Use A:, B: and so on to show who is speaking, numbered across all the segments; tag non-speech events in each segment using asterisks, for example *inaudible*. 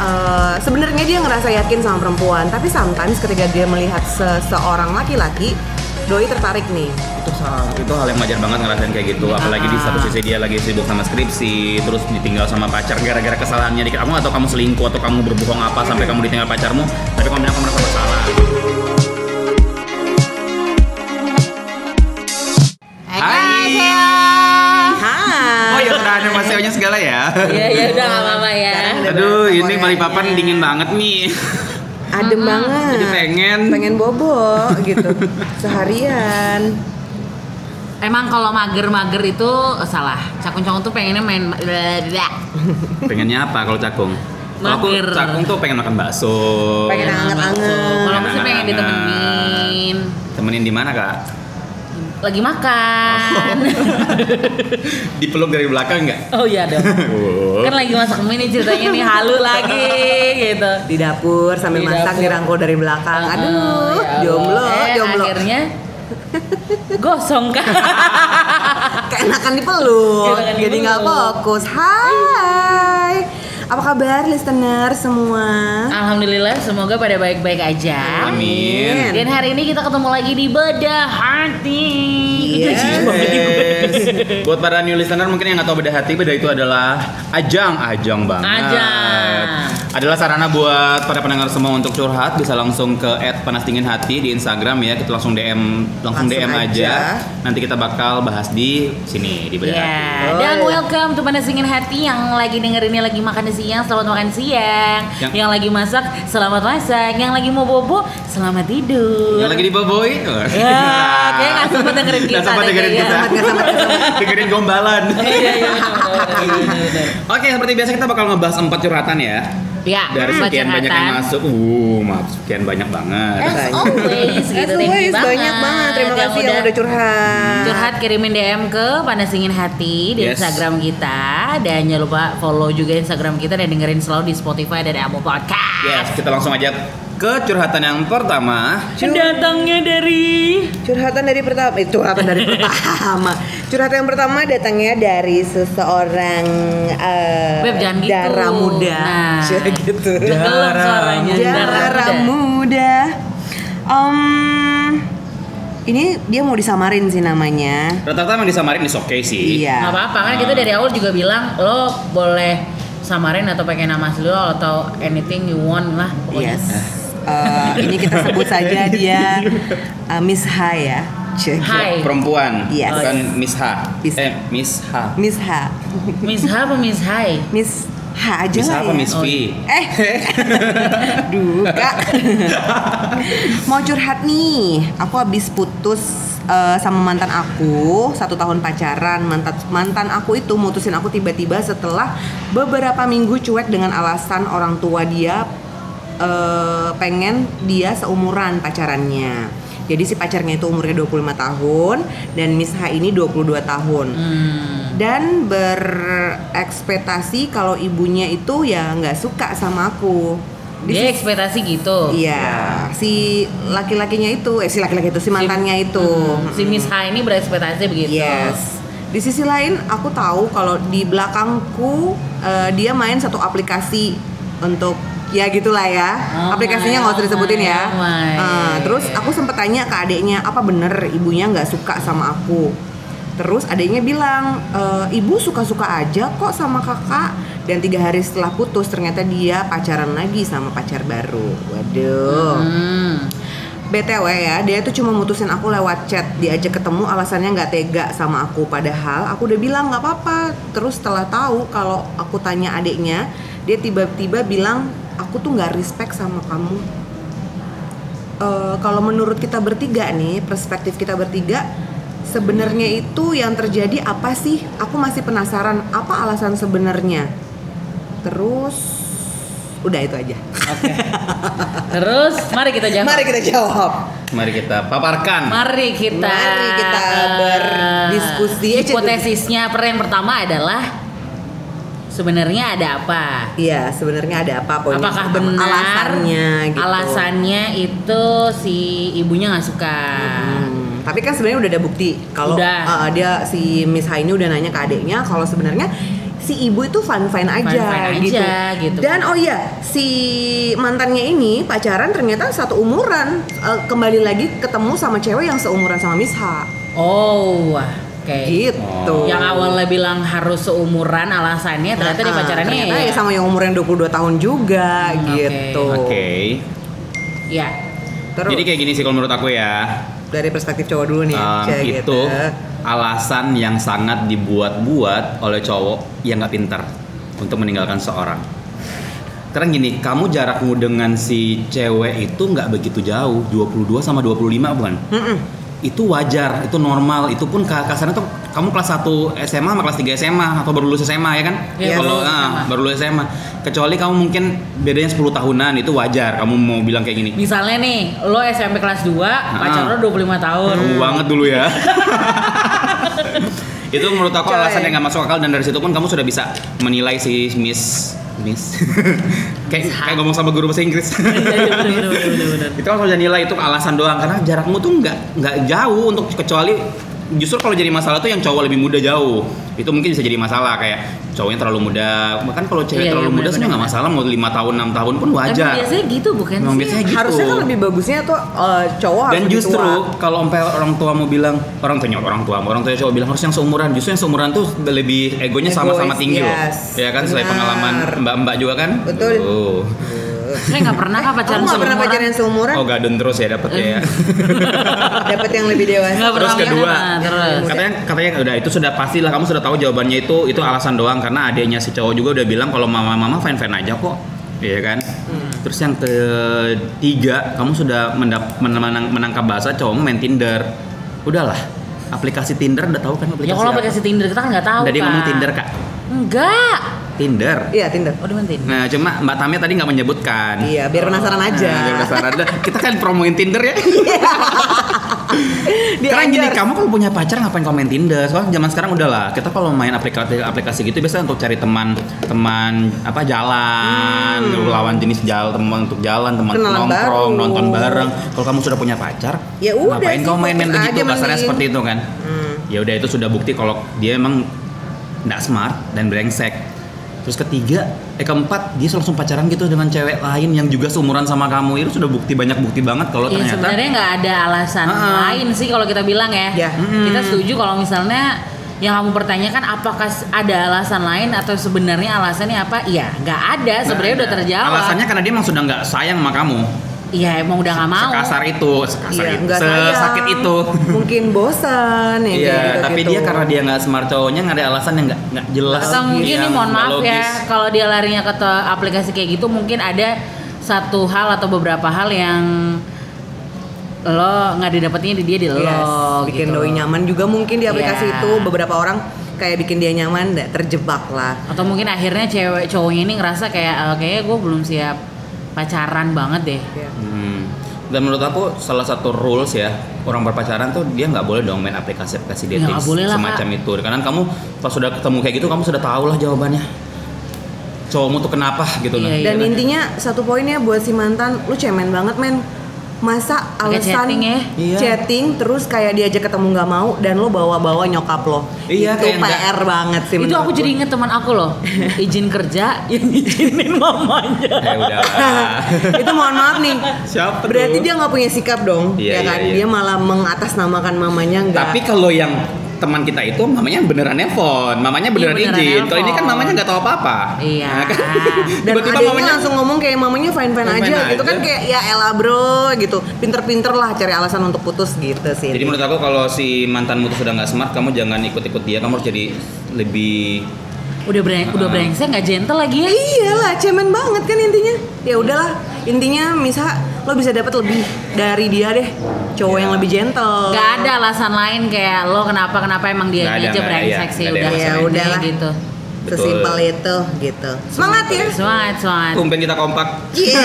A: eh, dia ngerasa yakin sama perempuan tapi sometimes ketika dia melihat seseorang laki-laki doi tertarik nih
B: itu sa- ah, itu hal yang wajar banget ngerasain kayak gitu apalagi di satu sisi dia lagi sibuk sama skripsi terus ditinggal sama pacar gara-gara kesalahannya dikit kamu atau kamu selingkuh atau kamu berbohong apa sampai kamu ditinggal pacarmu tapi kamu bilang kamu merasa bersalah Hai
A: Hai.
B: oh ya
C: iya,
B: udah ada masih nya segala ya
C: Ya ya udah nggak apa-apa ya.
B: aduh ini
C: Iya.
B: Balikpapan dingin banget nih
A: adem banget
B: jadi pengen
A: pengen bobo gitu seharian
C: Emang kalau mager-mager itu eh, salah. Cakun-cakun tuh pengennya main
B: pengennya apa kalau cakung Kalau aku
C: Mager.
B: cakung tuh pengen makan bakso
A: Pengen anget-anget.
C: Kalau aku sih pengen ditemenin.
B: temenin di mana kak
C: Lagi makan.
B: *laughs* dipeluk dari belakang nggak
C: *laughs* Oh iya dong. Kan lagi masak mie nih ceritanya nih halu lagi gitu.
A: di dapur sambil
C: Di
A: masak
C: dapur.
A: dirangkul dari belakang aduh
C: Eh, ya Allah.
A: jomblo
C: Eh,
A: jomblo
C: Akhirnya gosong kan.
A: *laughs* keenakan dipeluk
C: Keenakan
A: jadi
C: dipeluk.
A: nggak fokus hai apa kabar listener semua
C: Alhamdulillah semoga pada baik-baik aja.
B: amin
C: Dan hari ini kita ketemu lagi di Beda Hati. Itu
A: Yes.
C: jijik banget nih gue.
B: Yes. Buat para new listener mungkin yang nggak tahu beda hati, beda itu adalah ajang, ajang banget.
C: Ajang.
B: Adalah sarana buat para pendengar semua untuk curhat bisa langsung ke @panasdinginhati di Instagram ya. Kita langsung DM,
A: Langsung
B: langsung, DM aja.
A: aja.
B: Nanti kita bakal bahas di sini di beda hati.
C: Ya,
A: Oh,
C: dan
A: iya.
C: welcome to Panas Dingin Hati yang lagi dengerinnya lagi makan siang, selamat makan siang.
B: Yang-
C: Yang, lagi masak, selamat masak. Yang lagi mau bobo, selamat tidur.
B: Yang lagi di Boboy.
C: Ya, kayak nggak sempet dengerin kita
B: Nggak sempet
C: deh,
B: dengerin
C: kayaknya.
B: kita.
A: Nggak sempet, nggak
B: *laughs* dengerin gombalan.
C: Iya, iya, bener, bener, bener.
B: Oke, seperti biasa kita bakal ngebahas empat curhatan ya.
C: Ya,
B: *laughs* Dari
C: selamat
B: sekian banyak yang
C: curhatan.
B: masuk, uh, maaf sekian banyak banget.
A: Eh,
C: As always,
A: As
C: gitu. Thank
A: always,
C: you
A: banyak banget terima kasih yang udah curhat
C: curhat kirimin DM ke Panas Dingin Hati di
B: Yes.
C: Instagram kita dan jangan lupa follow juga Instagram kita dan dengerin selalu di Spotify dan Apple Podcast.
B: Yes, kita langsung aja ke curhatan yang pertama.
C: Datangnya dari
A: Curhatan dari pertama, eh, curhatan
C: *laughs*
A: dari pertama. Curhatan yang pertama datangnya dari seseorang eh,
C: Beb, jangan gitu.
A: darah muda. *laughs*
C: Nah.
A: Cie, gitu.
C: Gelem suaranya
A: Darah muda. Em, ini dia mau disamarin sih namanya.
B: Rata-rata emang disamarin is oke sih.
A: Iya.
C: Gak apa-apa kan kita dari awal juga bilang lo boleh samarin atau pakai nama asli lo atau anything you want lah pokoknya.
A: Yes. *laughs* Eh, ini kita sebut saja
C: *laughs*
A: dia eh, Miss H ya. Cie, gitu.
C: Hai.
B: Perempuan,
A: Yes.
B: bukan Miss H.
A: Miss.
B: Eh, Miss H.
A: Miss H.
C: Miss H apa Miss Hai?
A: Miss H aja
B: Miss H
A: lah
B: apa
A: ya.
B: Miss V?
C: Oh,
B: *laughs*
A: Eh, duh kak, mau curhat nih. Aku habis putus eh, sama mantan aku satu tahun pacaran. Mantan mantan aku itu mutusin aku tiba-tiba setelah beberapa minggu cuek dengan alasan orang tua dia eh, pengen dia seumuran pacarannya. Jadi si pacarnya itu umurnya 25 tahun dan Miss H ini 22 tahun
C: Hmm.
A: dan berekspektasi kalau ibunya itu ya nggak suka sama aku.
C: Dia
A: This is-
C: ekspektasi gitu.
A: Iya, si laki-lakinya itu, eh si laki-laki itu si mantannya itu.
C: Hmm, Si Miss H ini berekspektasi begitu.
A: Yes. Di sisi lain aku tahu kalau di belakangku eh, dia main satu aplikasi untuk ya gitulah ya.
C: Oh
A: Aplikasinya
C: my,
A: nggak usah disebutin
C: oh my,
A: ya.
C: oh my.
A: Eh, terus aku sempat tanya ke adiknya apa bener ibunya nggak suka sama aku. Terus adiknya bilang "Eh, ibu suka-suka aja kok sama kakak. Dan tiga hari setelah putus ternyata dia pacaran lagi sama pacar baru. Waduh.
C: Hmm.
A: BTW ya, dia tuh cuma mutusin aku lewat chat Diajak ketemu alasannya nggak tega sama aku Padahal aku udah bilang nggak apa-apa Terus setelah tahu kalau aku tanya adiknya Dia tiba-tiba bilang, aku tuh nggak respect sama kamu Eh, Kalau menurut kita bertiga nih, perspektif kita bertiga Sebenarnya itu yang terjadi apa sih? Aku masih penasaran, apa alasan sebenarnya? Terus, udah itu aja
C: Terus mari kita jawab.
A: Mari kita jawab
B: Mari kita paparkan.
C: Mari kita eh,
A: Mari kita berdiskusi. Eh, Cik.
C: Hipotesisnya peran pertama adalah sebenarnya ada apa?
A: Iya, sebenarnya ada apa poinnya?
C: Apakah
A: pertama?
C: benar
A: alasannya gitu.
C: alasannya itu si ibunya nggak suka?
A: Hmm, Tapi kan sebenarnya udah ada bukti kalau eh,
C: Udah.
A: uh, dia si Miss Hai ini udah nanya ke adiknya kalau sebenarnya si si ibu itu fine fine aja,
C: Fine-fine
A: gitu.
C: aja, gitu.
A: Dan oh iya si mantannya ini pacaran ternyata satu umuran Eh, kembali lagi ketemu sama cewek yang seumuran sama Miss H
C: Oh, wah. Oke.
A: gitu.
B: Oh.
C: Yang awalnya bilang harus seumuran alasannya ternyata di
A: Ah,
C: pacarannya
A: ternyata ya sama yang umurnya 22 tahun juga
C: Hmm, oke.
A: gitu.
B: Oke.
C: ya.
A: Terus
B: Jadi kayak gini sih kalau menurut aku ya.
A: dari perspektif cowok dulu nih, ya, gitu.
B: Um,
A: Cek,
B: itu alasan yang sangat dibuat-buat oleh cowok yang nggak pintar untuk meninggalkan seorang. Karena gini, kamu jarakmu dengan si cewek itu nggak begitu jauh, 22 sama 25 bukan?
A: Mm-mm.
B: Itu wajar, itu normal, itu pun ka- kasarnya tuh kamu kelas 1 SMA sama kelas 3 SMA atau baru lulus SMA ya kan?
C: Iya,
B: Kalau
C: baru lulus
B: ah,
C: SMA.
B: baru lulus SMA. Kecuali kamu mungkin bedanya 10 tahunan itu wajar kamu mau bilang kayak gini.
C: Misalnya nih, lo SMP kelas 2,
A: Ah.
C: pacar lo 25 tahun.
A: Hmm,
B: Kamu banget dulu ya. itu menurut aku
A: Coy.
B: alasan yang nggak masuk akal dan dari situ pun kamu sudah bisa menilai si Miss Miss *laughs* kayak kayak ngomong sama guru bahasa Inggris.
C: Iya, iya, bener, bener, bener, bener, bener.
B: itu kamu sudah nilai itu alasan doang karena jarakmu tuh nggak nggak jauh untuk kecuali justru kalau jadi masalah tuh yang cowok lebih muda jauh itu mungkin bisa jadi masalah kayak cowoknya terlalu muda bahkan kalau cewek
C: Iya, iya,
B: terlalu muda
C: bener,
B: sih nggak
C: bener.
B: masalah mau lima tahun enam tahun pun wajar
C: Tapi biasanya gitu bukan
B: Emang
C: sih?
B: biasanya gitu.
A: Harusnya kan lebih bagusnya tuh eh, cowok harus
B: dan
A: lebih
B: justru
A: tua.
B: kalau sampai orang tua mau bilang orang tuanya orang tua orang tua cowok bilang harus yang seumuran justru yang seumuran tuh lebih egonya
A: Egois,
B: sama-sama tinggi
A: yes.
B: loh ya kan selain
A: Benar.
B: pengalaman mbak-mbak juga kan
A: Betul.
B: oh,
C: Saya nggak pernah kah
A: *laughs* Aku nggak
C: pacaran
A: pernah
C: seumuran?
A: pacaran yang seumuran,
B: oh gadun terus ya dapet ya
A: *laughs* dapat yang lebih dewasa.
C: Nggak
B: Terus
C: pernah
B: kedua.
C: pacaran, terus.
B: katanya katanya udah itu sudah pastilah kamu sudah tahu jawabannya itu itu alasan doang karena adanya si cowok juga udah bilang kalau mama-mama fan-fan aja kok Iya kan
A: Hmm.
B: terus yang ketiga kamu sudah mendap- men- menang- menangkap bahasa cowok main Tinder udahlah aplikasi Tinder udah tahu kan aplikasi
C: Ya kalau
B: apa?
C: aplikasi Tinder kita kan nggak tahu.
B: Tadi
C: Kak.
B: ngomong Tinder kak,
C: Enggak.
B: Tinder.
A: Iya Tinder.
C: Oh, demen Tinder.
B: Nah cuma Mbak Tamia tadi nggak menyebutkan.
A: Iya, biar penasaran aja.
B: Nah, biar penasaran. Dah, Kita kan promoin Tinder
A: *laughs*
B: ya.
A: Dia
B: Karena gini,
A: ajar.
B: kamu kalau punya pacar ngapain kamu main Tinder? Soalnya zaman sekarang udahlah. Kita kalau main aplikasi aplikasi gitu biasanya untuk cari teman teman apa jalan, lawan jenis jalan, teman untuk jalan, teman
A: Hmm. Kenalan
B: nongkrong,
A: baru.
B: nonton bareng. Kalau kamu sudah punya pacar,
A: Ya udah
B: ngapain
A: sih,
B: kamu main-main
A: fokus
B: begitu?
A: aja
B: Kasarnya
A: mending.
B: seperti itu kan.
A: Hmm.
B: Ya udah itu sudah bukti kalau dia emang nggak smart dan brengsek. Terus ketiga, eh keempat dia langsung pacaran gitu dengan cewek lain yang juga seumuran sama kamu itu sudah bukti banyak bukti banget kalau
C: Ya
B: ternyata
C: sebenarnya nggak ada alasan
B: Ah.
C: lain sih kalau kita bilang ya.
A: Ya.
C: Kita setuju kalau misalnya yang kamu pertanyakan apakah ada alasan lain atau sebenarnya alasannya apa? Iya, nggak ada. Sebenarnya udah terjawab.
B: Alasannya karena dia emang sudah nggak sayang sama kamu.
C: Iya emang udah nggak mau.
B: Sekasar itu, sekasar
A: Iya,
B: itu,
A: nggak
B: sesakit
A: sayang.
C: *laughs*
B: itu.
A: Mungkin bosan ya.
B: Iya,
A: kayak gitu-gitu.
B: tapi dia karena dia nggak smart cowoknya nggak ada alasan yang nggak nggak jelas.
C: gitu. Atau mungkin
B: yang
C: nih mohon
B: nggak
C: maaf ya
B: logis.
C: kalau dia larinya ke te- aplikasi kayak gitu mungkin ada satu hal atau beberapa hal yang lo nggak didapatnya di dia di lo
A: Yes, bikin
C: gitu.
A: doi nyaman juga mungkin di aplikasi
C: Iya.
A: itu beberapa orang kayak bikin dia nyaman nggak terjebak lah.
C: Atau mungkin akhirnya cewek cowoknya ini ngerasa kayak "Eh, kayaknya gue belum siap pacaran banget deh.
B: Hmm. Dan menurut aku salah satu rules ya orang berpacaran tuh dia nggak boleh dong main aplikasi-aplikasi
C: Ya,
B: dating
C: nggak boleh lah,
B: semacam itu. Karena kamu pas sudah ketemu kayak gitu kamu sudah tahu lah jawabannya. Cowokmu tuh kenapa gitu
C: Iya,
B: nah.
C: iya.
A: Dan intinya satu poinnya buat si mantan, lu cemen banget men. Masa
C: Pakai
A: alasan
C: chatting ya?
B: Iya.
A: chatting terus kayak diajak ketemu nggak mau dan lu bawa-bawa nyokap lo.
B: Iya,
A: itu PR
B: kayak nggak-
A: banget sih
C: Itu
A: menurut
C: aku
A: gua.
C: jadi inget teman aku loh, izin kerja yang *laughs* izinin mamanya.
B: Eh
C: *laughs*
B: udah.
A: *laughs* itu mohon maaf nih.
B: Siapa
A: Berarti
B: tuh?
A: dia nggak punya sikap dong,
B: Iya,
A: ya kan?
B: iya, iya.
A: Dia malah mengatasnamakan mamanya nggak.
B: Tapi kalau yang teman kita itu mamanya beneran nelpon, mamanya beneran,
C: Iya, beneran
B: izin. Kalau ini kan
C: nelpon.
B: mamanya nggak tahu apa-apa.
C: Iya.
B: Nah, kan?
A: dan
B: Tiba-tiba
A: adiknya
B: mamanya
A: langsung ngomong kayak mamanya fine fine
B: Fine-fine
A: aja gitu kan
B: aja.
A: kayak ya elah bro gitu pinter-pinter lah cari alasan untuk putus gitu sih
B: Jadi menurut aku kalau si mantanmu tuh sudah nggak smart, kamu jangan ikut-ikut dia. Kamu harus jadi lebih
C: Udah breng,
B: Ah.
C: udah brengsek nggak gentle lagi ya?
A: iyalah cemen banget kan intinya ya udahlah intinya misal lo bisa dapat lebih dari dia deh cowok yang lebih gentle
C: Gak ada alasan lain kayak lo kenapa kenapa emang dia
B: Nggak ada,
C: aja
B: nggak ada,
C: brengsek
B: iya.
C: sih
B: Nggak ada
C: udah
B: alasan
A: lain. Ya,
C: udah
A: udahlah.
C: gitu.
B: Betul.
A: sesimpel itu gitu semangat ya
C: Semangat semangat.
B: tumben kita kompak.
A: *laughs* Iya,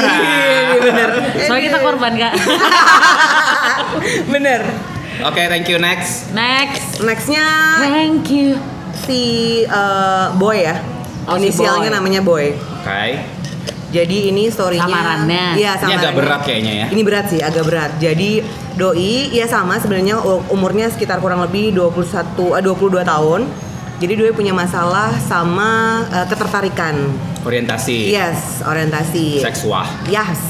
A: bener
C: Soalnya kita korban kak.
A: *laughs*
B: *laughs*
A: bener
B: Oke, thank you next.
C: Next.
A: nextnya
C: Thank you.
A: si eh, boy ya
C: Oh, si
A: inisialnya
C: Boy.
A: namanya boy
B: Oke.
A: jadi ini storynya
C: Samarannya.
A: iya
B: Ini
A: samarannya.
B: agak berat kayaknya ya.
A: Ini berat sih, agak berat. Jadi doi ya sama sebenarnya u- umurnya sekitar kurang lebih 21 eh, 22 tahun. Jadi Dwi punya masalah sama eh, ketertarikan.
C: Iya,
B: orientasi
A: Yes, orientasi.
B: seksual
A: Yes.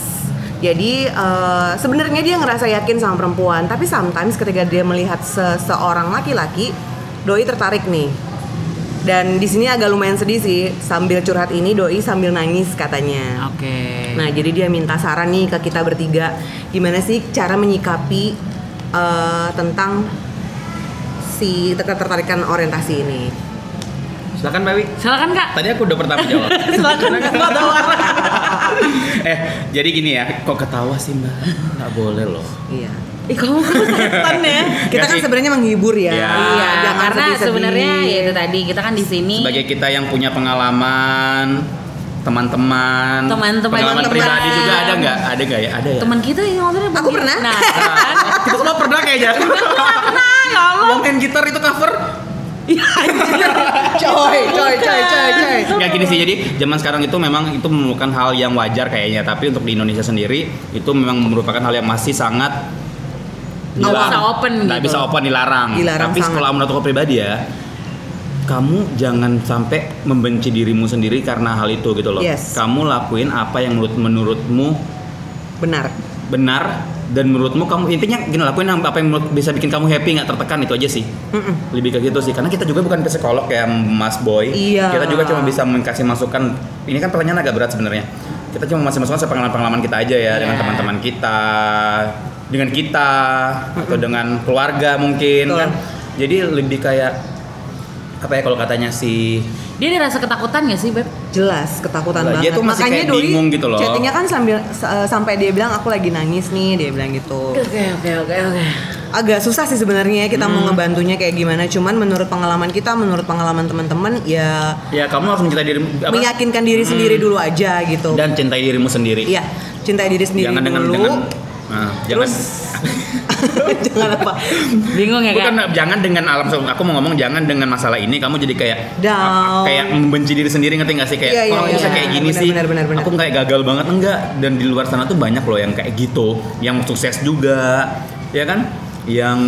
A: Jadi eh, sebenarnya dia ngerasa yakin sama perempuan, tapi sometimes ketika dia melihat seseorang laki-laki, doi tertarik nih. Dan di sini agak lumayan sedih sih, sambil curhat ini doi sambil nangis katanya.
C: Oke.
A: Nah, jadi dia minta saran nih ke kita bertiga, gimana sih cara menyikapi eh, tentang si ketertarikan orientasi ini.
B: silakan Mbak Wi
C: Silakan Kak.
B: tadi aku udah pertama
C: *laughs*
B: jawab
C: Silakan Kak.
B: eh jadi gini ya kok ketawa sih Mbak nggak boleh loh
A: Iya.
C: Ih, kamu kelihatan ya.
A: Kita
B: Nggak
A: kan
B: sih.
A: sebenarnya menghibur ya.
B: Iya.
C: Iya,
A: jangan
C: karena
A: sedih-sedih.
C: sebenarnya ya itu tadi kita kan di sini
B: sebagai kita yang punya pengalaman teman-teman
C: Teman-teman.
B: pengalaman
A: Teman-teman.
B: pribadi juga ada nggak ada nggak ya ada ya
C: teman kita yang maksudnya
A: Aku pernah.
C: Nah,
B: Nah, kita semua pernah kayaknya
C: pernah ya Allah.
B: lo main gitar itu cover
C: Ya, anjir.
A: coy, coy, coy, coy, coy.
B: nggak gini sih jadi zaman sekarang itu memang itu merupakan hal yang wajar kayaknya tapi untuk di Indonesia sendiri itu memang merupakan hal yang masih sangat
C: Nggak
B: dilarang.
C: bisa open
B: nggak
C: gitu.
B: bisa open dilarang,
A: Dilarang
B: tapi
A: sangat.
B: sekolah menurut aku pribadi ya kamu jangan sampai membenci dirimu sendiri karena hal itu gitu loh
A: Yes.
B: kamu lakuin apa yang menurut menurutmu
A: Benar.
B: benar dan menurutmu kamu intinya gini lakuin apa yang menurut- bisa bikin kamu happy nggak tertekan itu aja sih
A: Mm-mm.
B: lebih kayak gitu sih karena kita juga bukan psikolog kayak Mas Boy
A: Iya.
B: kita juga cuma bisa kasih masukan ini kan pertanyaan agak berat sebenarnya kita cuma masih masukan pengalaman pengalaman kita aja ya dengan
C: Iya.
B: teman-teman kita dengan kita atau dengan keluarga mungkin
A: Betul.
B: kan jadi lebih kayak apa ya kalau katanya si
C: Dia ada rasa ketakutan gak sih, Beb?
B: Oh.
A: Jelas ketakutan
B: Lah,
A: banget.
B: dia tuh masih
A: Makanya
B: kayak
A: Doi
B: bingung gitu loh.
A: Chattingnya kan sambil s- eh, sampai dia bilang aku lagi nangis nih, dia bilang gitu.
C: Oke, oke, oke, oke.
A: Agak susah sih sebenarnya kita
B: Hmm.
A: mau ngebantunya kayak gimana. Cuman menurut pengalaman kita, menurut pengalaman teman-teman ya
B: ya kamu harus mencintai dirimu apa? Hmm.
A: meyakinkan diri sendiri dulu aja gitu.
B: dan cintai dirimu sendiri
A: Iya, cintai diri sendiri
B: jangan dengan
A: dulu.
B: dengan nah, jangan
A: terus *laughs* jangan apa?
C: Bingung ya,
B: Bukan
C: Kak?
B: jangan dengan alam semesta. Aku mau ngomong jangan dengan masalah ini kamu jadi kayak
A: Down.
B: kayak membenci diri sendiri ngerti gak sih kayak
A: Iya, iya,
B: kok aku
A: iya.
B: bisa kayak gini
A: Benar,
B: sih.
A: benar, benar, benar.
B: Aku kayak gagal banget enggak dan di luar sana tuh banyak loh yang kayak gitu, yang sukses juga, ya kan? Yang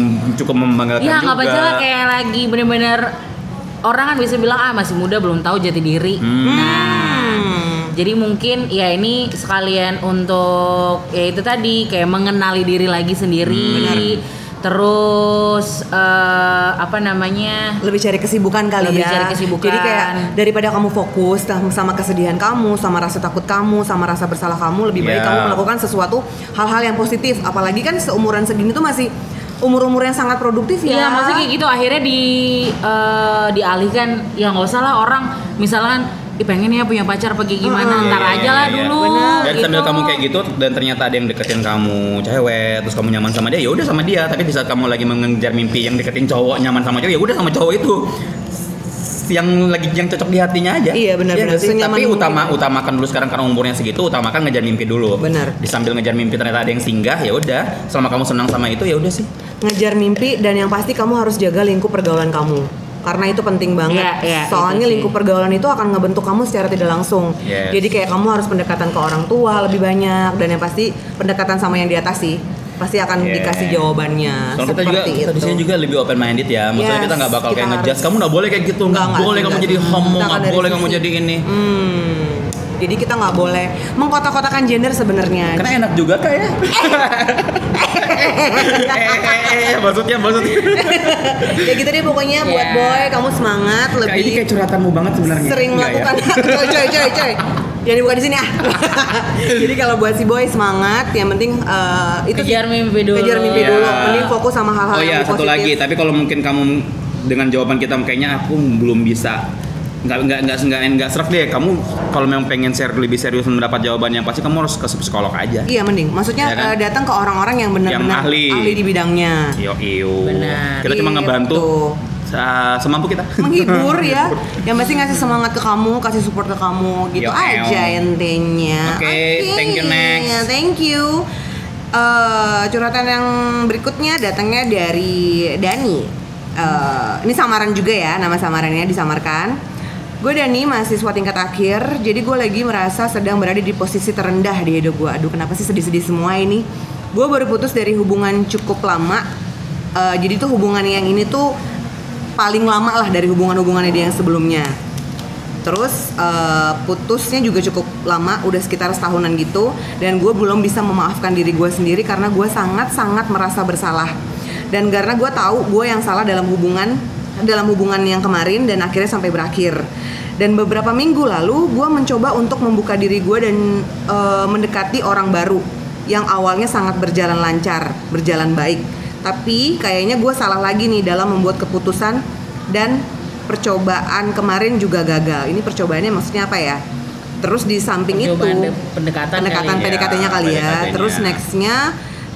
B: cukup membanggakan
C: Iya,
B: juga.
C: nggak baca lah kayak lagi bener-bener orang kan bisa bilang ah masih muda belum tahu jati diri. Nah,
A: Hmm.
C: jadi mungkin ya ini sekalian untuk ya itu tadi kayak mengenali diri lagi
B: Hmm,
C: sendiri. Terus eh, apa namanya?
A: lebih cari kesibukan kali
C: Lebih
A: ya.
C: cari kesibukan.
A: Jadi kayak daripada kamu fokus tam- sama kesedihan kamu, sama rasa takut kamu, sama rasa bersalah kamu, lebih baik
B: Ya.
A: kamu melakukan sesuatu hal-hal yang positif. Apalagi kan seumuran segini tuh masih umur-umur yang sangat produktif ya.
C: Iya, maksudnya kayak gitu akhirnya di eh, dialihkan ya nggak usah lah orang misalkan Ih, pengen ya punya pacar apa kayak gimana
A: Heeh.
C: ntar
B: Iya,
C: aja
B: iya,
C: lah
B: iya, iya.
C: dulu
A: Benar.
B: Dan sambil kamu kayak gitu dan ternyata ada yang deketin kamu cewek, terus kamu nyaman sama dia, ya udah sama dia. Tapi di saat kamu lagi mengejar mimpi yang deketin cowok nyaman sama cowok, ya udah sama cowok itu yang lagi yang cocok di hatinya aja.
A: Iya, benar,
B: Iya
A: benar.
B: nggak sih?
A: Senyaman
B: Tapi
A: mungkin.
B: utama utamakan dulu sekarang karena umurnya segitu, utamakan ngejar mimpi dulu.
A: Benar.
B: Di sambil ngejar mimpi ternyata ada yang singgah, ya udah. Selama kamu senang sama itu, ya udah sih.
A: Ngejar mimpi dan yang pasti kamu harus jaga lingkup pergaulan kamu. Karena itu penting banget.
C: Iya, iya, itu
A: Soalnya
C: sih.
A: lingkup pergaulan itu akan ngebentuk kamu secara tidak langsung.
B: Yes.
A: Jadi kayak kamu harus pendekatan ke orang tua lebih banyak dan yang pasti pendekatan sama yang di atas sih pasti akan
B: Yeah.
A: dikasih jawabannya.
B: Soalnya kita juga
A: Seperti
B: kita di
A: itu.
B: sini juga lebih open minded ya. Maksudnya
A: Yes,
B: kita nggak bakal
A: kita
B: kayak
A: harus.
B: ngejudge kamu nggak boleh kayak gitu,
A: Nggak,
B: nggak
A: nggak,
B: boleh kamu
A: nggak.
B: jadi
A: Kita
B: homo,
A: akan
B: nggak
A: dari
B: boleh kamu
A: sisi-
B: jadi ini.
A: Hmm. Jadi kita nggak boleh mengkotak-kotakan gender sebenarnya.
B: Karena enak juga ya. kayak. eh, maksudnya maksudnya.
A: *laughs* ya gitu deh pokoknya buat
C: Ya.
A: boy kamu semangat
B: Kayak ini
A: lebih
B: kayak curhatanmu banget sebenarnya.
A: sering
B: Enggak ya?
A: melakukan coy coy coy coy. Jangan dibuka di sini
B: *laughs*
A: ah. Jadi kalau buat si boy semangat, yang penting eh, itu sih.
C: Kejar mimpi dulu.
A: Kejar mimpi
B: Iya.
A: dulu. Mending fokus sama hal-hal
B: Oh
A: yang
B: ya, satu
A: positif.
B: lagi. Tapi kalau mungkin kamu dengan jawaban kita kayaknya aku belum bisa nggak nggak nggak nggak nggak serap deh kamu kalau memang pengen share lebih serius dan mendapat jawaban yang pasti kamu harus ke psikolog aja
A: Iya mending. Maksudnya
B: Iya kan?
A: eh, datang ke orang-orang yang
B: Yang
A: benar-benar
B: ahli.
A: di bidangnya.
B: yo iyo
C: Benar.
B: kita cuma
A: Iya,
B: ngebantu
A: betul.
B: sa- semampu kita
A: menghibur ya yang pasti ngasih semangat ke kamu kasih support ke kamu gitu
B: Yo,
A: aja intinya
B: Oke, thank you, next.
A: ya, thank you Eh, curhatan yang berikutnya datangnya dari Dani Eh, ini samaran juga ya nama samarannya disamarkan Gue Dani, mahasiswa tingkat akhir, jadi gue lagi merasa sedang berada di posisi terendah di hidup gue. Aduh, kenapa sih sedih-sedih semua ini? Gue baru putus dari hubungan cukup lama, Eh, jadi tuh hubungan yang ini tuh paling lama lah dari hubungan-hubungannya dia yang sebelumnya. Terus eh, putusnya juga cukup lama, udah sekitar setahunan gitu. Dan gue belum bisa memaafkan diri gue sendiri karena gue sangat-sangat merasa bersalah. Dan karena gue tahu gue yang salah dalam hubungan dalam hubungan yang kemarin dan akhirnya sampai berakhir. Dan beberapa minggu lalu gue mencoba untuk membuka diri gue dan eh, mendekati orang baru yang awalnya sangat berjalan lancar, berjalan baik. Tapi kayaknya gue salah lagi nih dalam membuat keputusan dan percobaan kemarin juga gagal. Ini percobaannya maksudnya apa ya? Terus di samping
C: Percobaan
A: itu
C: de- pendekatan
A: pendekatan
B: kali ya.
A: PDKT-nya kali ya.
B: PDKT-nya.
A: Terus nextnya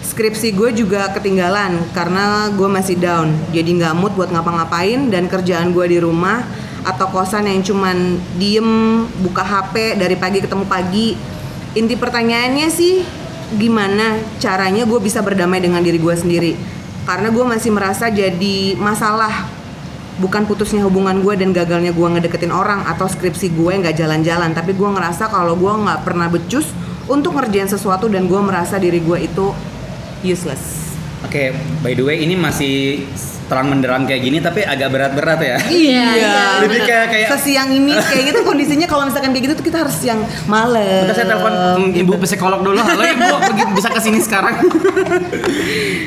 A: skripsi gue juga ketinggalan karena gue masih down. Jadi nggak mood buat ngapa-ngapain dan kerjaan gue di rumah atau kosan yang cuman diem buka HP dari pagi ketemu pagi. Inti pertanyaannya sih gimana caranya gue bisa berdamai dengan diri gue sendiri? Karena gue masih merasa jadi masalah bukan putusnya hubungan gue dan gagalnya gue ngedeketin orang atau skripsi gue nggak jalan-jalan tapi gue ngerasa kalau gue nggak pernah becus untuk ngerjain sesuatu dan gue merasa diri gue itu useless
B: *laughs* Oke, by the way ini masih terang menderang kayak gini tapi agak berat-berat ya.
C: Iya.
B: Lebih
A: bener.
B: kayak- kayak-
A: sesiang ini kayak gitu kondisinya kalau misalkan kayak gitu tuh kita harus siang malam
B: Bentar saya telepon mm, ibu psikolog dulu. Halo ibu, bagi- bisa kesini sekarang. *laughs*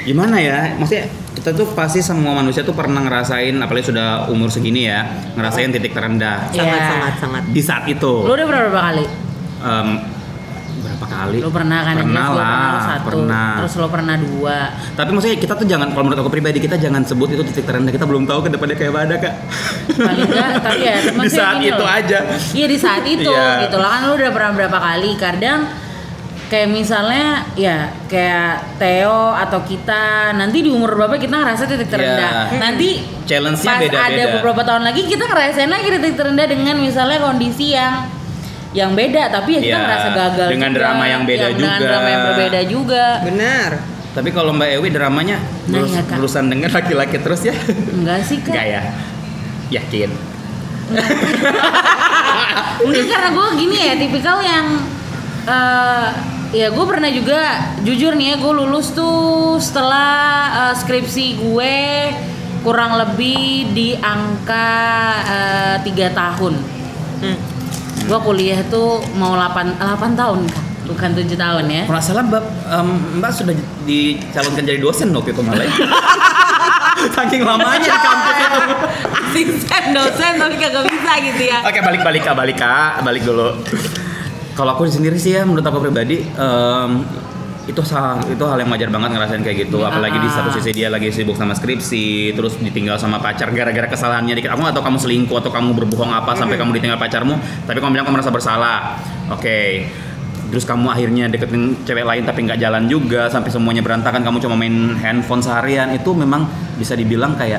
B: Gimana ya? Maksudnya kita tuh pasti semua manusia tuh pernah ngerasain, apalagi sudah umur segini ya, ngerasain titik terendah
A: sangat
C: Iya.
A: sangat sangat
B: di saat
C: Lu
B: itu.
C: udah berapa kali?
B: Em, berapa kali?
C: Lu pernah kan? yang
B: Pernah
C: jelas lu
B: lah,
C: pernah, lu satu.
B: pernah.
C: Terus lu pernah dua.
B: Tapi maksudnya kita tuh jangan, kalau menurut aku pribadi kita jangan sebut itu titik terendah. Kita belum tahu ke depannya kayak apa ada kak. *laughs*
C: Paling enggak, tapi ya
B: di
C: maksudnya
B: saat
C: gini
B: itu
C: loh.
B: aja.
C: Iya di saat itu
B: Iya.
C: gitu lah kan lu udah pernah berapa kali kadang kayak misalnya ya kayak Theo atau kita nanti di umur berapa kita ngerasa titik terendah.
B: Iya.
C: Nanti
B: Challenge-nya
C: pas
B: beda-beda.
C: ada beberapa tahun lagi kita ngerasain lagi titik terendah dengan misalnya kondisi yang yang beda tapi ya kita
B: Iya,
C: ngerasa gagal
B: dengan
C: juga, Iya,
B: drama yang beda
C: dengan
B: juga.
C: drama yang berbeda juga
A: benar
B: Tapi kalau Mbak Ewi dramanya
C: Nah,
B: berus-
C: iya, Kak.
B: berurusan dengan laki-laki terus ya? *laughs*
C: enggak sih kan
B: Enggak ya? Yakin?
C: Mungkin karena gue gini ya, tipikal yang eh, ya gue pernah juga jujur nih ya gue lulus tuh setelah eh, skripsi gue kurang lebih di angka eh, tiga tahun.
A: Hmm,
C: Gue kuliah tuh mau 8 8 tahun Kak. bukan 7 tahun ya. *laughs*
B: Kalau nggak salah Mbak, em, Mbak sudah dicalonkan jadi dosen waktu itu malah. ya. Saking lamanya di kampus itu.
C: Asing sen dosen tapi kagak bisa gitu ya.
B: Oke balik-balik kak, balik kak, balik dulu. Kalau aku sendiri sih ya menurut aku pribadi em, itu hal itu hal yang wajar banget ngerasain kayak gitu. Apalagi di satu sisi dia lagi sibuk sama skripsi, terus ditinggal sama pacar gara-gara kesalahannya dikit. Aku nggak tahu kamu selingkuh atau kamu berbohong apa sampai kamu ditinggal pacarmu. Tapi kamu bilang kamu merasa bersalah. Oke. Terus kamu akhirnya deketin cewek lain tapi nggak jalan juga sampai semuanya berantakan. Kamu cuma main handphone seharian itu memang bisa dibilang kayak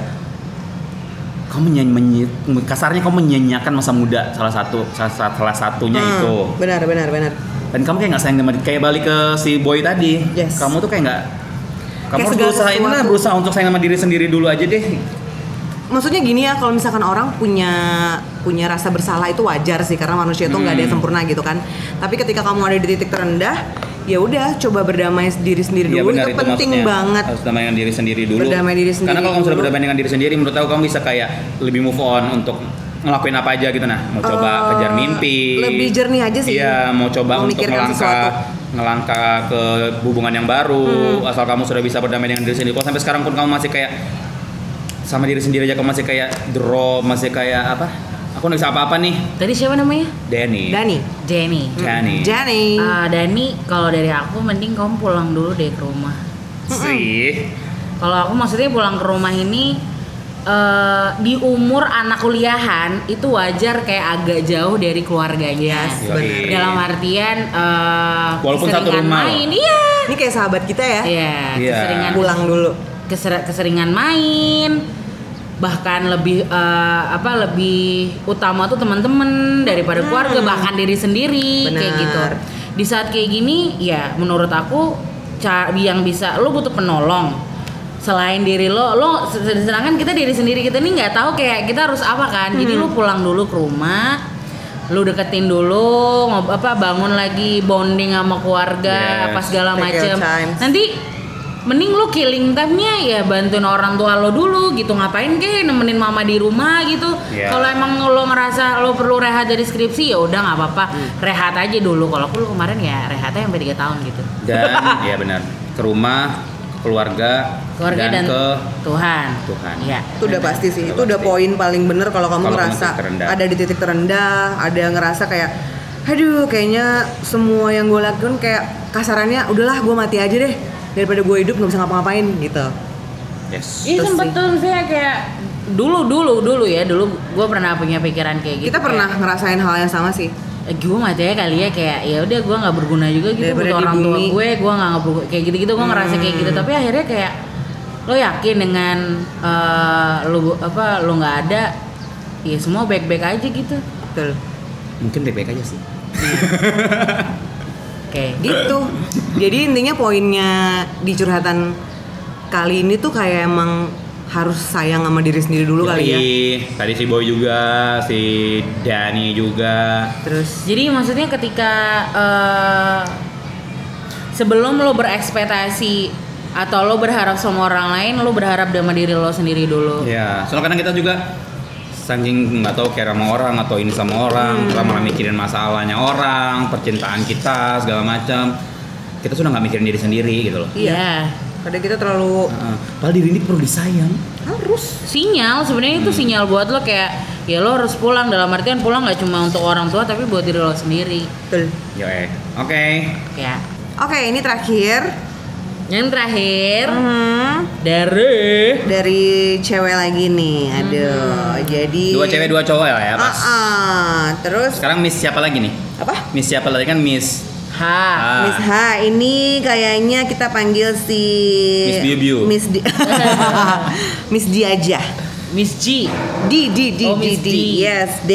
B: kamu menyanyi, menyi- kasarnya kamu menyanyiakan masa muda salah satu salah, sat- salah satunya
A: Hmm,
B: Ya, itu
A: benar benar benar
B: dan kamu kayak nggak sayang sama kayak balik ke si boy tadi
A: Yes.
B: kamu tuh kayak nggak kamu
A: Kayak
B: harus
A: segala
B: berusaha ini lah,
A: sesuatu.
B: berusaha untuk sayang sama diri sendiri dulu aja deh
A: maksudnya gini ya kalau misalkan orang punya punya rasa bersalah itu wajar sih karena manusia itu nggak ada yang
B: Hmm.
A: sempurna gitu kan tapi ketika kamu ada di titik terendah ya udah coba berdamai diri sendiri
B: Iya,
A: dulu
B: benar,
A: itu, penting
B: maksudnya.
A: banget
B: harus berdamai dengan diri sendiri dulu
A: Berdamai diri sendiri
B: karena kalau kamu sudah
A: dulu.
B: berdamai dengan diri sendiri menurut aku kamu bisa kayak lebih move on untuk ngelakuin apa aja gitu nah mau coba
A: Eh,
B: kejar mimpi
A: lebih jernih aja sih.
B: iya mau coba untuk
A: Memikirkan
B: melangkah ngelangkah ke hubungan yang baru
A: Hmm.
B: asal kamu sudah bisa berdamai dengan diri sendiri kalau sampai sekarang pun kamu masih kayak sama diri sendiri aja kamu masih kayak draw masih kayak apa aku nggak bisa apa-apa nih
C: Tadi siapa namanya?
B: Danny
A: Dani
C: Jenny.
B: Danny
A: Dani
C: Ah, Dani, kalau dari aku mending kamu pulang dulu deh ke rumah.
B: sih
C: Kalau aku maksudnya pulang ke rumah ini eh, di umur anak kuliahan itu wajar kayak agak jauh dari keluarganya.
A: Yes.
B: Yoi.
C: Dalam artian eh,
B: Iya. Walaupun satu
C: keseringan
B: rumah.
C: main, iya.
A: ini kayak sahabat kita ya
C: Iya,
B: Iya.
C: keseringan
A: pulang dulu
C: keser- keseringan main bahkan lebih eh, apa lebih utama tuh teman-teman daripada keluarga bahkan diri sendiri kayak
A: Hmm. Benar.
C: gitu di saat kayak gini ya menurut aku ca- yang bisa lo butuh penolong selain diri lo lo se- sedangkan kita diri sendiri kita nih nggak tahu kayak kita harus apa kan jadi
A: Hmm.
C: lo pulang dulu ke rumah lo deketin dulu ngob- apa bangun lagi bonding sama
B: Yes.
C: keluarga apa segala
A: Take your
C: macem
A: time.
C: nanti mending lu killing time-nya ya bantuin orang tua lo dulu gitu ngapain kek nemenin mama di rumah gitu
B: Iya.
C: kalau emang lo ngerasa lo perlu rehat dari skripsi ya udah nggak apa-apa
B: Hmm.
C: rehat aja dulu kalau aku lu kemarin ya rehatnya sampai tiga tahun gitu
B: dan ya benar ke rumah ke keluarga,
C: keluarga dan,
B: dan, ke
C: Tuhan
B: Tuhan.
C: ya
A: itu udah pasti sih itu
B: Udah
A: udah
B: pasti.
A: poin paling bener kalau kamu
B: Kalau kamu
A: ngerasa
B: titik terendah.
A: ada di titik terendah ada ngerasa kayak aduh kayaknya semua yang gue lakukan kayak kasarannya udahlah gue mati aja deh daripada gue hidup nggak bisa ngapa-ngapain gitu
B: yes
C: Iya
A: Terus
C: sempet
A: sih.
C: tuh saya kayak dulu dulu dulu ya dulu gue pernah punya pikiran kayak gitu.
A: kita pernah ngerasain hal yang sama sih
C: Gue mati aja kali ya kayak ya udah gue nggak berguna juga gitu
A: Daripada
C: buat
A: di
C: orang tua
A: bumi. Hmm.
C: gue gue nggak nggak berguna kayak gitu gitu gue ngerasa kayak gitu tapi akhirnya kayak lo yakin dengan eh, lo apa lo nggak ada ya semua baik baik aja gitu.
A: betul
B: mungkin baik-baik aja sih
C: Oke.
A: gitu jadi intinya poinnya di curhatan kali ini tuh kayak emang harus sayang sama diri sendiri dulu kali ya
B: Yoi. tadi si Boy juga si Dani juga
A: terus
C: Jadi maksudnya ketika eh, sebelum lo berekspektasi atau lo berharap sama orang lain, lo berharap sama diri lo sendiri dulu.
B: ya soalnya kadang kita juga saking nggak tahu care sama orang atau ini sama orang kita malah mikirin masalahnya orang percintaan kita segala macam kita sudah nggak mikirin diri sendiri gitu loh
A: Iya.
C: Iya.
A: kadang kita terlalu
B: Heeh. padahal diri ini perlu disayang
A: harus
C: Sinyal sebenarnya itu sinyal buat lo kayak ya lo harus pulang dalam artian pulang nggak cuma untuk orang tua tapi buat diri lo sendiri.
A: betul
B: yo eh oke
C: Kayak
A: oke ini terakhir
C: yang terakhir
A: Hmm,
C: dari
A: dari cewek lagi nih aduh jadi
B: Hmm. dua cewek dua cowok lah ya pas
A: Ah, Ah-ah, terus
B: sekarang Miss siapa lagi nih
A: apa
B: Miss siapa lagi kan Miss
C: H.
B: Ah.
A: Miss H ini kayaknya kita panggil si
B: Miss Biu-Biu.
A: Miss Di *laughs* Miss Di aja
C: Miss G.
A: Di Di Di
C: Oh,
A: Di,
C: Miss
A: Di.
C: Di.
A: yes D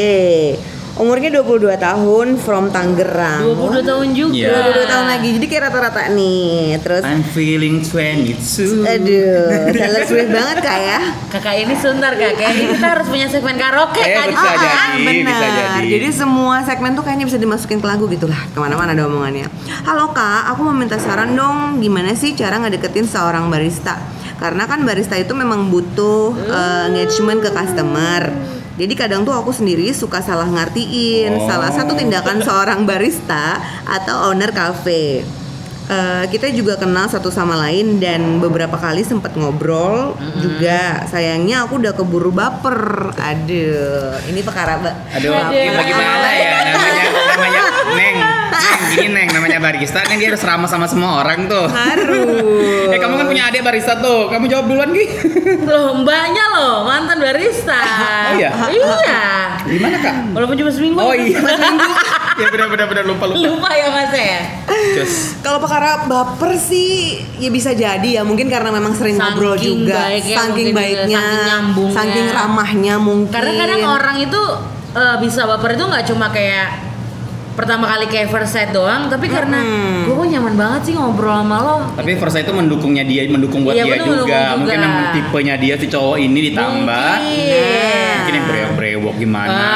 A: umurnya 22 tahun from Tangerang
C: 22 tahun juga.
B: Iya.
A: 22 tahun lagi jadi kayak rata-rata nih terus
B: I'm feeling 22
A: aduh Taylor Swift banget kak ya
C: Kakak ini sebentar kak, kayaknya kita harus punya segmen karaoke
B: Eh,
C: kan?
B: betul. Bisa jadi,
A: Ah, benar.
B: bisa jadi.
A: semua segmen tuh kayaknya bisa dimasukin ke lagu gitu lah. Kemana-mana ada omongannya. Halo kak, aku mau minta saran dong. Gimana sih cara ngedeketin seorang barista? Karena kan barista itu memang butuh eh, engagement ke customer. Jadi kadang tuh aku sendiri suka salah ngertiin
B: Oh.
A: salah satu tindakan seorang barista atau owner cafe. Eh, kita juga kenal satu sama lain dan beberapa kali sempat ngobrol juga. Sayangnya aku udah keburu baper. Aduh, ini perkara ba-
B: Aduh,
C: Aduh.
B: bagaimana ya namanya namanya Neng. Neng, gini Neng namanya barista kan dia harus ramah sama semua orang tuh.
A: Harus.
B: Eh kamu kan punya adik barista tuh. Kamu jawab duluan Ki.
C: Loh, mbaknya loh, mantan barista.
B: Oh iya?
C: Iya.
B: Gimana Kak?
C: Walaupun cuma seminggu.
B: Oh iya. *laughs* ya benar benar benar lupa lupa.
C: Lupa ya Mas ya?
B: Cus.
A: Kalau perkara baper sih ya bisa jadi ya mungkin karena memang sering
C: Saking
A: ngobrol juga,
C: baiknya
A: saking
C: mungkin juga,
A: baiknya,
C: saking nyambungnya.
A: saking ramahnya mungkin.
C: Karena kadang orang itu eh, bisa baper itu nggak cuma kayak pertama kali kayak first sight doang, tapi karena
A: Mm-mm.
C: gue kok nyaman banget sih ngobrol sama lo.
B: Tapi Versa itu mendukungnya dia, mendukung buat
C: Iya,
B: dia
C: betul,
B: juga.
C: mendukung juga.
B: Mungkin emang tipenya dia si cowok ini ditambah.
C: Mungkin.
B: Mungkin yang brewok-brewok gimana
C: Ah,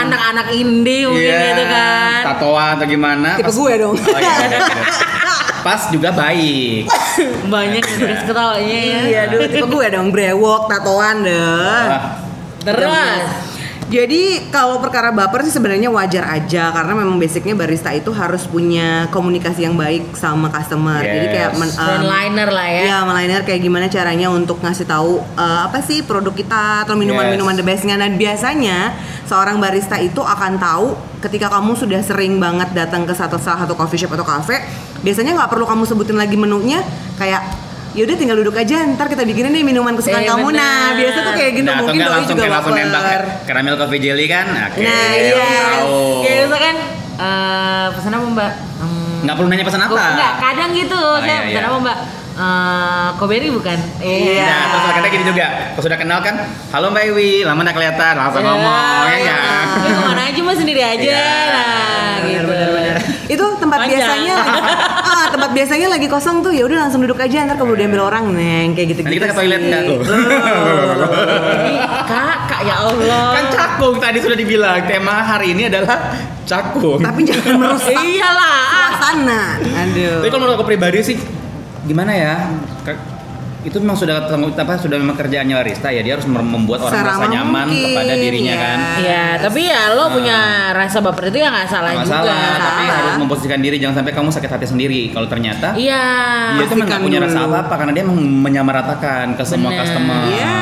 B: kan.
C: Anak-anak indie mungkin
B: Iya,
C: gitu kan.
B: Tatoan atau gimana?
A: tipe
B: Pas-
A: gue dong.
B: Oh, iya,
C: *laughs*
B: iya, iya. Pas juga baik.
C: Banyak terus ketawanya ya.
A: *laughs* iya, aduh, tipe gue dong brewok, tatoan deh.
B: Ah.
C: Terus.
A: Jadi kalau perkara baper sih sebenarnya wajar aja karena memang basicnya barista itu harus punya komunikasi yang baik sama customer. Jadi kayak
B: Yes.
A: men, um,
C: Frontliner lah ya.
A: ya
B: iya.
A: meliner kayak gimana caranya untuk ngasih tahu uh, apa sih produk kita atau minuman-minuman
B: Yes.
A: the bestnya. Dan biasanya seorang barista itu akan tahu ketika kamu sudah sering banget datang ke satu salah satu coffee shop atau cafe, biasanya nggak perlu kamu sebutin lagi menunya kayak yaudah tinggal duduk aja ntar kita bikinin nih minuman kesukaan
C: Iya,
A: kamu nah
C: benar.
A: biasa tuh kayak gitu
B: Nah, atau
A: mungkin
B: nggak
A: doi
B: langsung
A: juga
B: kayak langsung nembak ya.
A: baper
B: karamel coffee jelly kan? Oke.
A: Nah,
B: orang
A: iya.
B: tahu.
C: Kayak gitu kan eh pesan apa Mbak? Hmm,
B: Nggak perlu nanya pesan
A: Oh,
B: apa.
C: Gua- Enggak, kadang gitu.
B: Ah,
C: saya
B: iya,
C: pesan
B: iya.
C: apa Mbak? Eh koberi bukan?
A: Iya.
B: Nah, terus kadang gini juga. Kalau sudah kenal kan, halo Mbak Iwi, lama nggak kelihatan, langsung ngomong, ya
C: iya.
B: nggak?
C: Ya, kemana aja mas sendiri aja
B: Iya,
C: lah gitu.
A: itu tempat
C: Panjang. *laughs*
A: biasanya lagi, ah, tempat biasanya lagi kosong tuh ya udah langsung duduk aja ntar keburu diambil orang neng kayak gitu gitu
B: Iya. Nanti kita ke toilet nggak tuh?
C: Jadi kakak ya Allah.
B: kan cakung tadi sudah dibilang tema hari ini adalah cakung.
A: tapi jangan merusak
C: Iyalah. ah.
A: suasana aduh
B: Tapi kalau menurut aku pribadi sih gimana ya ke- itu memang sudah ketemu- apa sudah memang kerjaannya barista ya dia harus mem- membuat orang
A: Serama
B: merasa nyaman
A: mungkin,
B: kepada dirinya
A: ya.
B: kan
C: Iya, tapi ya lo punya rasa baper itu ya nggak salah
B: Nah. nggak
C: juga.
B: salah tapi ya.
A: salah.
B: harus memposisikan diri jangan sampai kamu sakit hati sendiri kalau ternyata
C: Iya.
B: dia itu memang nggak
A: Pastikan
B: punya rasa
A: dulu.
B: apa-apa karena dia meng- menyamaratakan ke semua
C: Bener.
B: customer
A: Iya.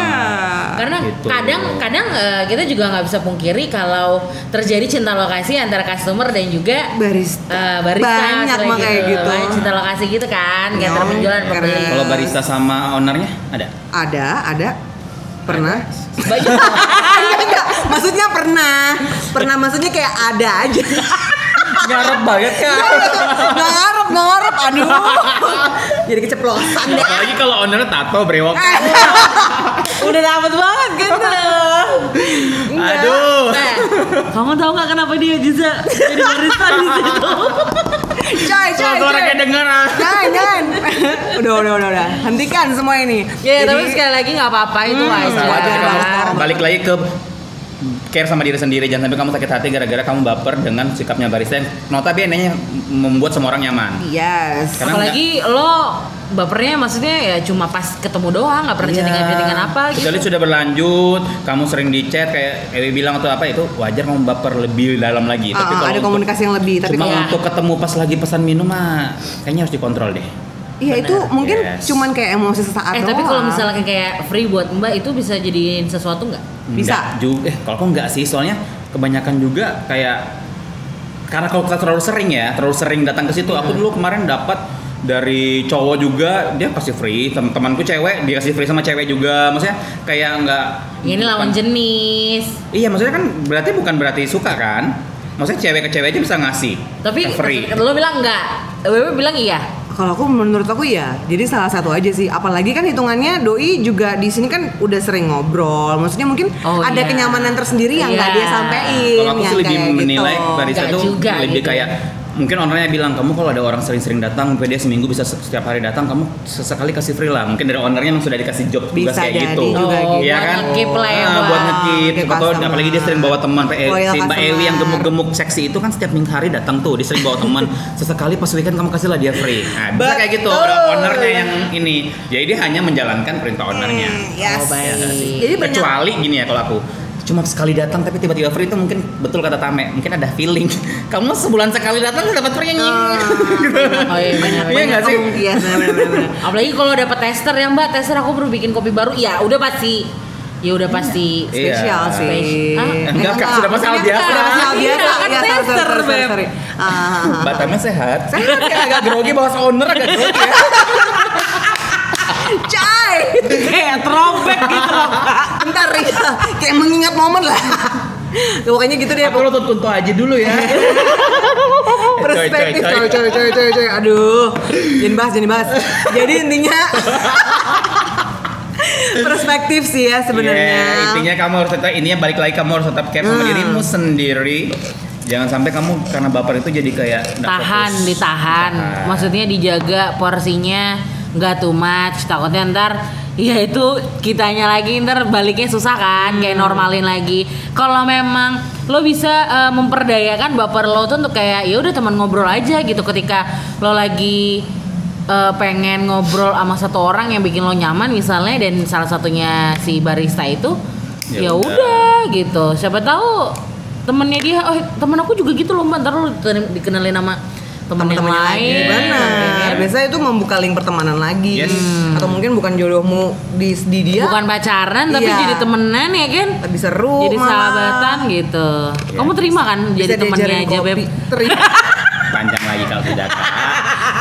C: Karena
B: Gitu.
C: kadang-kadang eh, kita juga nggak bisa pungkiri kalau terjadi cinta lokasi antara customer dan juga
A: Kan Barista.
C: eh, barista
A: Banyak
C: setelah
A: mah kayak gitu.
C: Banyak cinta lokasi gitu kan, nggak
A: Iya,
C: antara penjualan dan
A: karena-
C: pembeli.
B: kalau barista sama ownernya ada
A: Ada, ada. Pernah? *laughs*
C: Baju
A: Enggak, enggak. Maksudnya pernah. Pernah maksudnya kayak ada aja. *laughs*
B: ngarep banget kan
A: Nggak ngarep, nggak ngarep. Aduh. *laughs* Jadi keceplosan deh.
B: apalagi kalau ownernya tato brewok
C: *laughs*
A: Ah,
C: udah dapet banget gitu.
B: aduh
C: Eh, kamu tahu nggak kenapa dia bisa jadi barista di situ?
A: Coy, coy,
B: suara
A: coy.
B: kayak denger ah.
A: Jangan, jangan. *laughs* udah, udah, udah, udah. Hentikan semua ini.
C: Ya, tapi
A: Jadi-
C: sekali lagi nggak apa-apa itu
B: Hmm,
C: wajar.
B: Salah, jadi kamu
A: Wajar.
B: balik lagi ke care sama diri sendiri jangan sampai kamu sakit hati gara-gara kamu baper dengan sikapnya barista yang notabene membuat semua orang nyaman
A: Yes.
B: Karena
C: Apalagi lo bapernya maksudnya ya cuma pas ketemu doang, nggak pernah
B: Iya.
C: chattingan-chattingan apa gitu.
B: Kecuali sudah berlanjut, kamu sering di chat kayak Ewi bilang atau apa itu wajar kamu baper lebih dalam lagi.
A: Ah, ah, ada
B: untuk-
A: komunikasi yang lebih, tapi
B: cuma
A: kalau
C: kalau-
B: untuk ketemu pas lagi pesan minum mah kayaknya harus dikontrol deh.
A: Iya itu mungkin
B: Yes.
A: cuman kayak emosi sesaat
C: Eh tapi kalau
A: doang.
C: misalnya kayak free buat Mbak itu bisa jadiin sesuatu nggak?
A: Bisa.
B: Nggak juga. Eh, kalau kok nggak sih, soalnya kebanyakan juga kayak karena kalau kita terlalu sering ya, terlalu sering datang ke situ. Aku
A: Hmm.
B: dulu kemarin dapat dari cowok juga dia kasih free teman-temanku cewek dia kasih free sama cewek juga maksudnya kayak nggak
C: Ya, ini lawan jenis.
B: Iya maksudnya kan berarti bukan berarti suka kan? Maksudnya cewek ke cewek aja bisa ngasih.
C: Tapi
B: Eh, free.
C: lo bilang nggak? Wewe bilang iya.
A: Kalau aku menurut aku ya, jadi salah satu aja sih. Apalagi kan hitungannya doi juga di sini kan udah sering ngobrol. Maksudnya mungkin
C: Oh,
A: ada
C: iya.
A: kenyamanan tersendiri yang nggak
C: Iya.
A: dia sampein.
B: Kalau aku
A: yang
B: sih lebih
A: Iya, kayak
B: menilai
A: gitu.
B: barista
C: Nggak
B: tuh
C: juga
B: lebih
C: gitu.
B: kayak mungkin orangnya bilang kamu kalau ada orang sering-sering datang, mungkin dia seminggu bisa se- setiap hari datang, kamu sesekali kasih free lah. Mungkin dari ownernya emang sudah dikasih job tugas
A: Bisa
B: kayak
A: jadi
B: gitu.
A: juga
C: Oh,
A: gitu.
B: Iya
C: buat
B: kan?
C: ngekip lah
B: Ah,
C: ya, Mbak.
B: buat ngekip.
A: Ngekip
B: Atau
A: customer.
B: apalagi dia sering bawa teman. Pak E-
A: Loyal
B: si Mbak
A: customer.
B: Ewi yang gemuk-gemuk seksi itu kan setiap minggu hari datang tuh. Dia sering bawa
A: *laughs*
B: teman. Sesekali pas weekend kamu kasih lah dia free. Nah, bisa kayak gitu.
A: Betul.
B: Ada ownernya yang ini. Jadi dia hanya menjalankan perintah ownernya.
A: Hmm, yes.
C: Oh, baik.
A: Jadi banyak
B: Iya Kecuali gini ya kalau aku cuma sekali datang tapi tiba-tiba free itu mungkin betul kata Tame mungkin ada feeling *laughs* kamu sebulan sekali datang udah dapat free anjing gitu
C: Oh iya benar.
B: *laughs* Iya nggak
A: *laughs*
B: sih?
A: kemungkinan, Iya,
B: *laughs*
A: benar-benar.
C: Apalagi kalau dapat tester ya Mbak, tester aku baru bikin kopi baru. Ya udah pasti. Ya udah pasti.
B: Iya.
A: Spesial sih.
C: Spesial. Ah,
A: Eh,
B: enggak, Kak, sudah pasal
A: maksudnya
B: biasa.
A: Sudah pasal
C: Iya,
A: biasa.
C: kan
A: Iya, sorry,
C: tester,
A: sorry, sorry,
C: Beb.
A: sorry. Ah, ah, ah.
B: Mbak Tame sehat kayak agak grogi bahas owner agak grogi ya
A: Cai.
C: Kayak throwback gitu loh.
A: Bentar Rika, kayak mengingat momen lah. *laughs* Ya, pokoknya gitu deh.
B: aku lutut kunto aja dulu ya
A: perspektif
B: Eh, Coy,
A: coy
B: coy,
A: coy
B: coy.
A: coy coy coy aduh jangan bahas jangan bahas jadi
B: *laughs*
A: intinya perspektif sih ya
B: Iya,
A: sebenarnya
B: intinya kamu harus tetap ininya balik lagi kamu harus tetap care sama
A: Hmm.
B: dirimu sendiri jangan sampai kamu karena baper itu jadi kayak nggak
C: Tahan,
B: fokus.
C: ditahan.
B: Tahan.
C: Maksudnya dijaga porsinya nggak too much. Takutnya ntar ya itu kitanya lagi ntar baliknya susah kan kayak
B: Hmm.
C: normalin lagi. Kalau memang lo bisa eh, memperdayakan baper lo tuh untuk kayak ya udah teman ngobrol aja gitu ketika lo lagi eh, pengen ngobrol sama satu orang yang bikin lo nyaman misalnya dan salah satunya si barista itu
B: Ya
C: ya
B: udah.
C: udah gitu siapa tahu temennya dia oh temen aku juga gitu loh mbak ntar lu diten- dikenalin sama temen yang
A: teman-temannya lagi
C: lain
A: iya, benar biasanya itu membuka link pertemanan lagi
B: Iya. Yes.
A: atau mungkin bukan jodohmu di, di dia
C: bukan pacaran tapi
A: Iya.
C: jadi temenan ya kan
A: lebih seru
C: jadi
A: malah.
C: sahabatan gitu
B: Iya.
C: kamu terima kan
A: Bisa
C: jadi temennya
A: diajarin
C: aja
A: kopi.
C: beb
A: Terima.
B: panjang lagi kalau tidak Kak.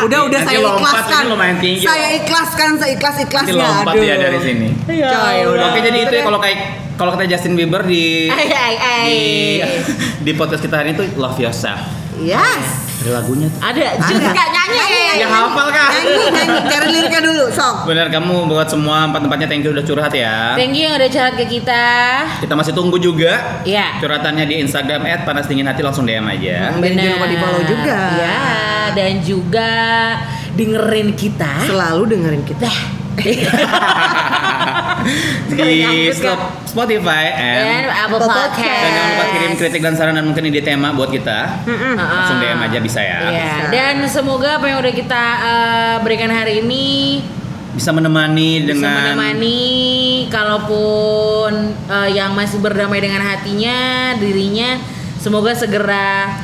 A: udah udah
B: Iya, Nanti
A: saya
B: lompat,
A: ikhlaskan
B: ini lumayan tinggi
A: saya
B: loh.
A: ikhlaskan saya ikhlas
B: Nanti
A: ikhlasnya
B: lompat
A: aduh
B: ya dari sini.
A: coy udah
B: Oke jadi itu ya kalau kayak kalau kata Justin Bieber
C: *laughs*
B: di
C: Ay, ay, ay.
B: di, di podcast kita hari ini tuh Love Yourself.
A: yes
B: Ada lagunya tuh.
C: ada juga nyanyi
B: Ya hafal kan.
A: nyanyi nyanyi cari liriknya dulu sok
B: Benar kamu buat semua empat tempatnya thank you udah curhat ya.
C: thank you yang udah curhat ke kita
B: Kita masih tunggu juga
C: ya
B: curhatannya di Instagram @panasdinginhati langsung DM aja.
A: Hmm. Dan jangan lupa di-follow juga.
C: ya dan juga dengerin kita *laughs*
A: selalu dengerin kita
C: Dah.
B: di
C: Nyangkut, kan?
B: Stop- Spotify
C: Dan
B: and
C: Iya, Apple
A: Apple
C: Podcast.
A: Podcast.
B: dan jangan lupa kirim kritik dan saran dan mungkin ide tema buat kita.
A: Mm-mm.
B: Langsung DM aja bisa ya.
C: Iya.
A: Bisa.
C: Dan semoga apa yang udah kita eh, berikan hari ini
B: Bisa menemani
C: bisa
B: dengan
C: menemani kalaupun eh, yang masih berdamai dengan hatinya, dirinya semoga segera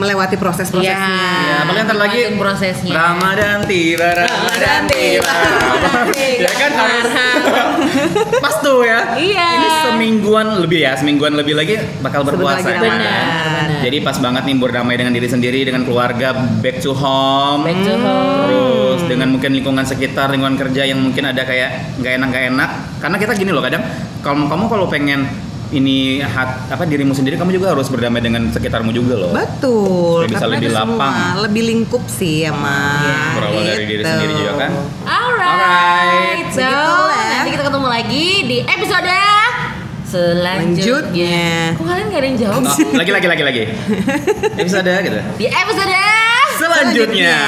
A: melewati
B: Ya,
A: proses-prosesnya.
B: apalagi ntar lagi
C: Nikmatin prosesnya.
B: Ramadan tiba, Ramadan tiba.
C: Ramadan tiba.
B: ya kan harus pas tuh ya.
C: Iya.
B: Ini semingguan lebih ya, semingguan lebih lagi bakal
A: Sebentar
B: berpuasa.
A: lagi
B: ya.
A: Ramadan.
C: Benar, benar.
B: Jadi pas banget nih berdamai dengan diri sendiri, dengan keluarga, back to home.
C: Back to home.
B: Terus dengan mungkin lingkungan sekitar, lingkungan kerja yang mungkin ada kayak nggak enak nggak enak. Karena kita gini loh kadang, kalau kamu kalau pengen ini hat, apa dirimu sendiri, kamu juga harus berdamai dengan sekitarmu juga loh.
A: Betul.
B: Supaya bisa
A: karena
B: lebih
A: itu semua
B: lapang.
A: lebih lingkup sih Gitu. emang.
B: Iya. Berawal dari diri sendiri juga kan.
C: Gitu. Alright,
B: Alright. ya.
C: so
A: Begitulah.
C: nanti kita ketemu lagi di episode selanjutnya.
A: Lanjutnya.
C: Kok kalian gak ada yang jawab
B: Oh,
C: sih?
B: lagi lagi lagi
C: *laughs*
B: lagi. Episode gitu.
C: Di episode
B: Selanjutnya.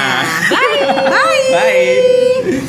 A: Bye. Bye.
B: Bye.